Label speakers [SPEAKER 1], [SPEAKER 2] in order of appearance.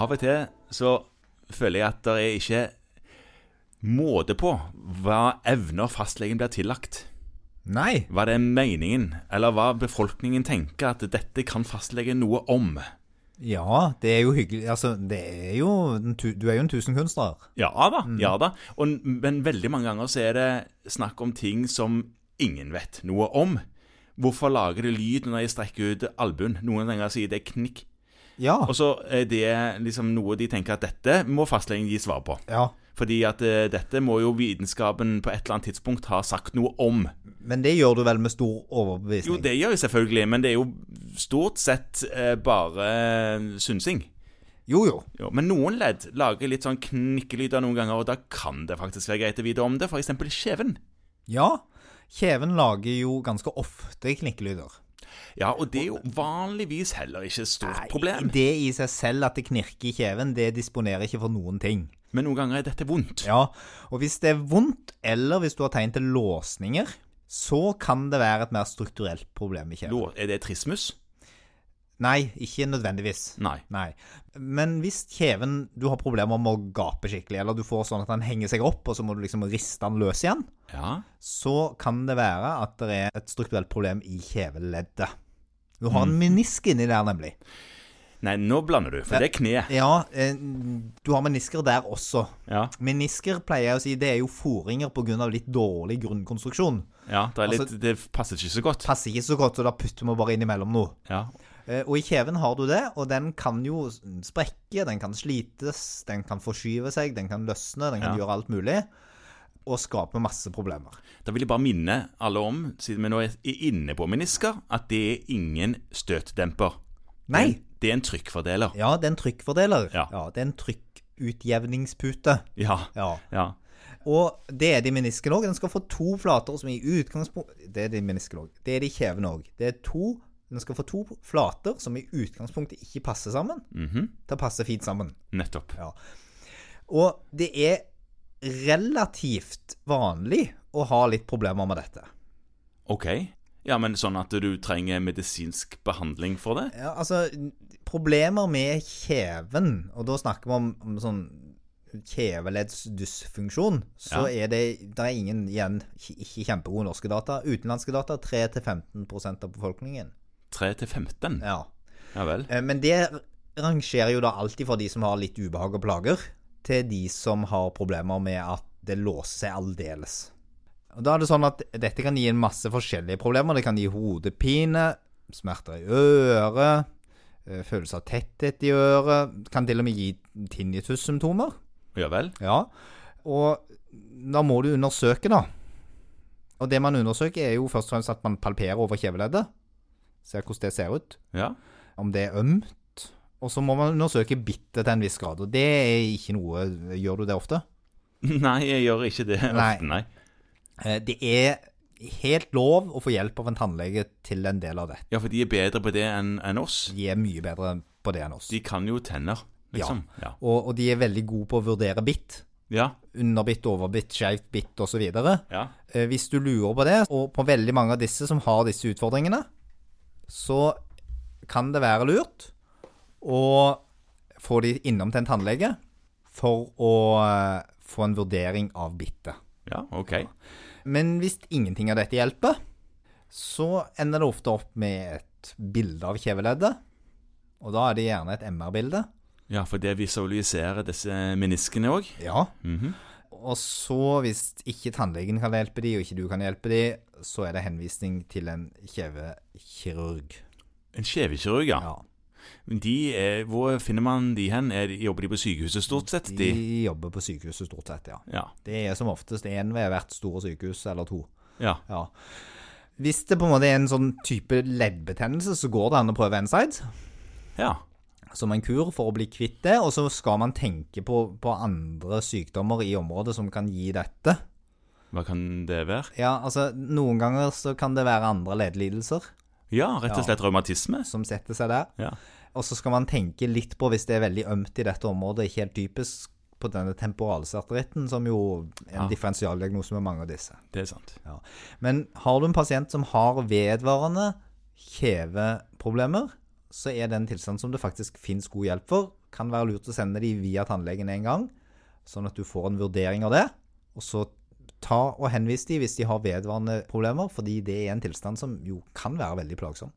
[SPEAKER 1] av og til så føler jeg at det er ikke måte på hva evner fastlegen blir tillagt.
[SPEAKER 2] Nei.
[SPEAKER 1] Hva det er meningen, eller hva befolkningen tenker at dette kan fastlegen noe om.
[SPEAKER 2] Ja, det er jo hyggelig. Altså, det er jo en tu- Du er jo en tusenkunstner.
[SPEAKER 1] Ja da, ja da. Og, men veldig mange ganger så er det snakk om ting som ingen vet noe om. Hvorfor lager det lyd når jeg strekker ut albuen? Noen ganger sier det knikk.
[SPEAKER 2] Ja.
[SPEAKER 1] Og så er det liksom noe de tenker at dette må fastlegen gi svar på.
[SPEAKER 2] ja.
[SPEAKER 1] Fordi at eh, dette må jo vitenskapen på et eller annet tidspunkt ha sagt noe om.
[SPEAKER 2] Men det gjør du vel med stor overbevisning?
[SPEAKER 1] Jo, det gjør jeg selvfølgelig, men det er jo stort sett eh, bare synsing.
[SPEAKER 2] Jo, jo.
[SPEAKER 1] Jo, men noen ledd lager litt sånn knikkelyder noen ganger, og da kan det faktisk være greit å vite om det. F.eks. kjeven.
[SPEAKER 2] Ja. Kjeven lager jo ganske ofte knikkelyder.
[SPEAKER 1] Ja, og det er jo vanligvis heller ikke et stort problem.
[SPEAKER 2] Det i seg selv at det knirker i kjeven, det disponerer ikke for noen ting.
[SPEAKER 1] Men noen ganger er dette vondt.
[SPEAKER 2] Ja, og hvis det er vondt, eller hvis du har tegn til låsninger, så kan det være et mer strukturelt problem i kjeven.
[SPEAKER 1] Lå, er det trismus?
[SPEAKER 2] Nei, ikke nødvendigvis.
[SPEAKER 1] Nei.
[SPEAKER 2] Nei. Men hvis kjeven Du har problemer med å gape skikkelig, eller du får sånn at den henger seg opp, og så må du liksom riste den løs igjen,
[SPEAKER 1] Ja,
[SPEAKER 2] så kan det være at det er et strukturelt problem i kjeveleddet. Du har en menisk inni der, nemlig.
[SPEAKER 1] Nei, nå blander du, for det er kne.
[SPEAKER 2] Ja, eh, du har menisker der også.
[SPEAKER 1] Ja,
[SPEAKER 2] Menisker pleier jeg å si, det er jo foringer pga. litt dårlig grunnkonstruksjon.
[SPEAKER 1] ja det, er litt,
[SPEAKER 2] Altså-
[SPEAKER 1] det passer ikke så godt.
[SPEAKER 2] Passer ikke så godt, så da putter vi bare innimellom noe.
[SPEAKER 1] Ja.
[SPEAKER 2] Eh, Og i kjeven har du det, og den kan jo sprekke, den kan slites, den kan forskyve seg, den kan løsne, den kan
[SPEAKER 1] Ja.
[SPEAKER 2] gjøre alt mulig. Og skape masse problemer.
[SPEAKER 1] Da vil jeg bare minne alle om, siden vi nå er inne på menisker, at det er ingen støtdemper.
[SPEAKER 2] Nei.
[SPEAKER 1] Det er en trykkfordeler.
[SPEAKER 2] Ja, det er en trykkfordeler.
[SPEAKER 1] Ja.
[SPEAKER 2] det er en trykkutjevningspute.
[SPEAKER 1] Ja.
[SPEAKER 2] Ja.
[SPEAKER 1] ja.
[SPEAKER 2] Og det er det i menisken òg. Den skal få to flater som i utgangspunkt Det er det i menisken òg. Det er det i kjeven òg. Det er to Den skal få to flater som i utgangspunktet ikke passer sammen. Det passer fint sammen.
[SPEAKER 1] Mhm. Nettopp.
[SPEAKER 2] Ja. Og det er relativt vanlig å ha litt problemer med dette.
[SPEAKER 1] Ok. Ja, men sånn at du trenger medisinsk behandling for det?
[SPEAKER 2] Ja, altså, problemer med kjeven, og da snakker vi om, om sånn kjeveleddsdysfunksjon, så er det der er ingen igjen, ikke- ikke kjempegode norske data. Utenlandske data 3-15 av befolkningen.
[SPEAKER 1] 3 til 15?
[SPEAKER 2] Ja.
[SPEAKER 1] Ja vel.
[SPEAKER 2] Eh, Men det rangerer jo da alltid fra de som har litt ubehag og plager, til de som har problemer med at det låser seg aldeles. Og da er det sånn at dette kan gi en masse forskjellige problemer. Det kan gi hodepine, smerter i øret, eh, følelse av tetthet i øret. Det Kan til og med gi tinnitus-symptomer.
[SPEAKER 1] Ja vel.
[SPEAKER 2] Ja. Og da må du undersøke, da. Og det man undersøker, er jo først og fremst at man palperer over kjeveleddet. Ser hvordan det ser ut
[SPEAKER 1] Ja.
[SPEAKER 2] om det er ømt. Og så må man undersøke bittet til en viss grad, og det er ikke noe Gjør du det ofte?
[SPEAKER 1] Nei, jeg gjør ikke det.
[SPEAKER 2] Nei.
[SPEAKER 1] Nei.
[SPEAKER 2] Eh, Det er helt lov å få hjelp av en tannlege til en del av det.
[SPEAKER 1] Ja, for de er bedre på det enn enn oss.
[SPEAKER 2] De er mye bedre på det enn oss.
[SPEAKER 1] De kan jo tenner, liksom. Ja.
[SPEAKER 2] Og, og de er veldig gode på å vurdere bitt.
[SPEAKER 1] Ja.
[SPEAKER 2] Underbitt, overbitt, skeivt bitt osv.
[SPEAKER 1] ja.
[SPEAKER 2] Eh, Hvis du lurer på det, og på veldig mange av disse som har disse utfordringene, så kan det være lurt å få de innom til en tannlege for å eh, få en vurdering av bittet.
[SPEAKER 1] Ja, ok.
[SPEAKER 2] Men hvis ingenting av dette hjelper, så ender det ofte opp med et bilde av kjeveleddet. Og da er det gjerne et MR-bilde.
[SPEAKER 1] Ja, for det visualiserer disse meniskene òg.
[SPEAKER 2] Ja. Og så, hvis ikke tannlegen kan hjelpe de, og ikke du kan hjelpe de, så er det henvisning til en kjevekirurg.
[SPEAKER 1] En kjevekirurg, ja.
[SPEAKER 2] Ja.
[SPEAKER 1] Men De er, hvor finner man de hen? Er, de- jobber de på sykehuset stort sett? De,
[SPEAKER 2] De jobber på sykehuset stort sett, ja.
[SPEAKER 1] ja.
[SPEAKER 2] Det er som oftest én ved hvert store sykehus, eller to.
[SPEAKER 1] ja.
[SPEAKER 2] Ja. Hvis det på en måte er en sånn type leddbetennelse, så går det an å prøve N-side.
[SPEAKER 1] Ja.
[SPEAKER 2] som en kur for å bli kvitt det, og så skal man tenke på, på andre sykdommer i området som kan gi dette.
[SPEAKER 1] Hva kan det være?
[SPEAKER 2] Ja, altså, noen ganger så kan det være andre leddelidelser
[SPEAKER 1] Ja, rett og slett revmatisme.
[SPEAKER 2] som setter seg der,
[SPEAKER 1] Ja.
[SPEAKER 2] og så skal man tenke litt på hvis det er veldig ømt i dette området, ikke helt typisk på denne temporalsarteritten, som jo er en
[SPEAKER 1] Ja.
[SPEAKER 2] differensialdiagnose med mange av disse.
[SPEAKER 1] Det er sant.
[SPEAKER 2] Ja. Men har du en pasient som har vedvarende kjeveproblemer, så er det en tilstand som det faktisk finnes god hjelp for, kan være lurt å sende de via tannlegen en gang, sånn at du får en vurdering av det. Og så ta og henvis de hvis de har vedvarende problemer, fordi det er en tilstand som jo kan være veldig plagsom.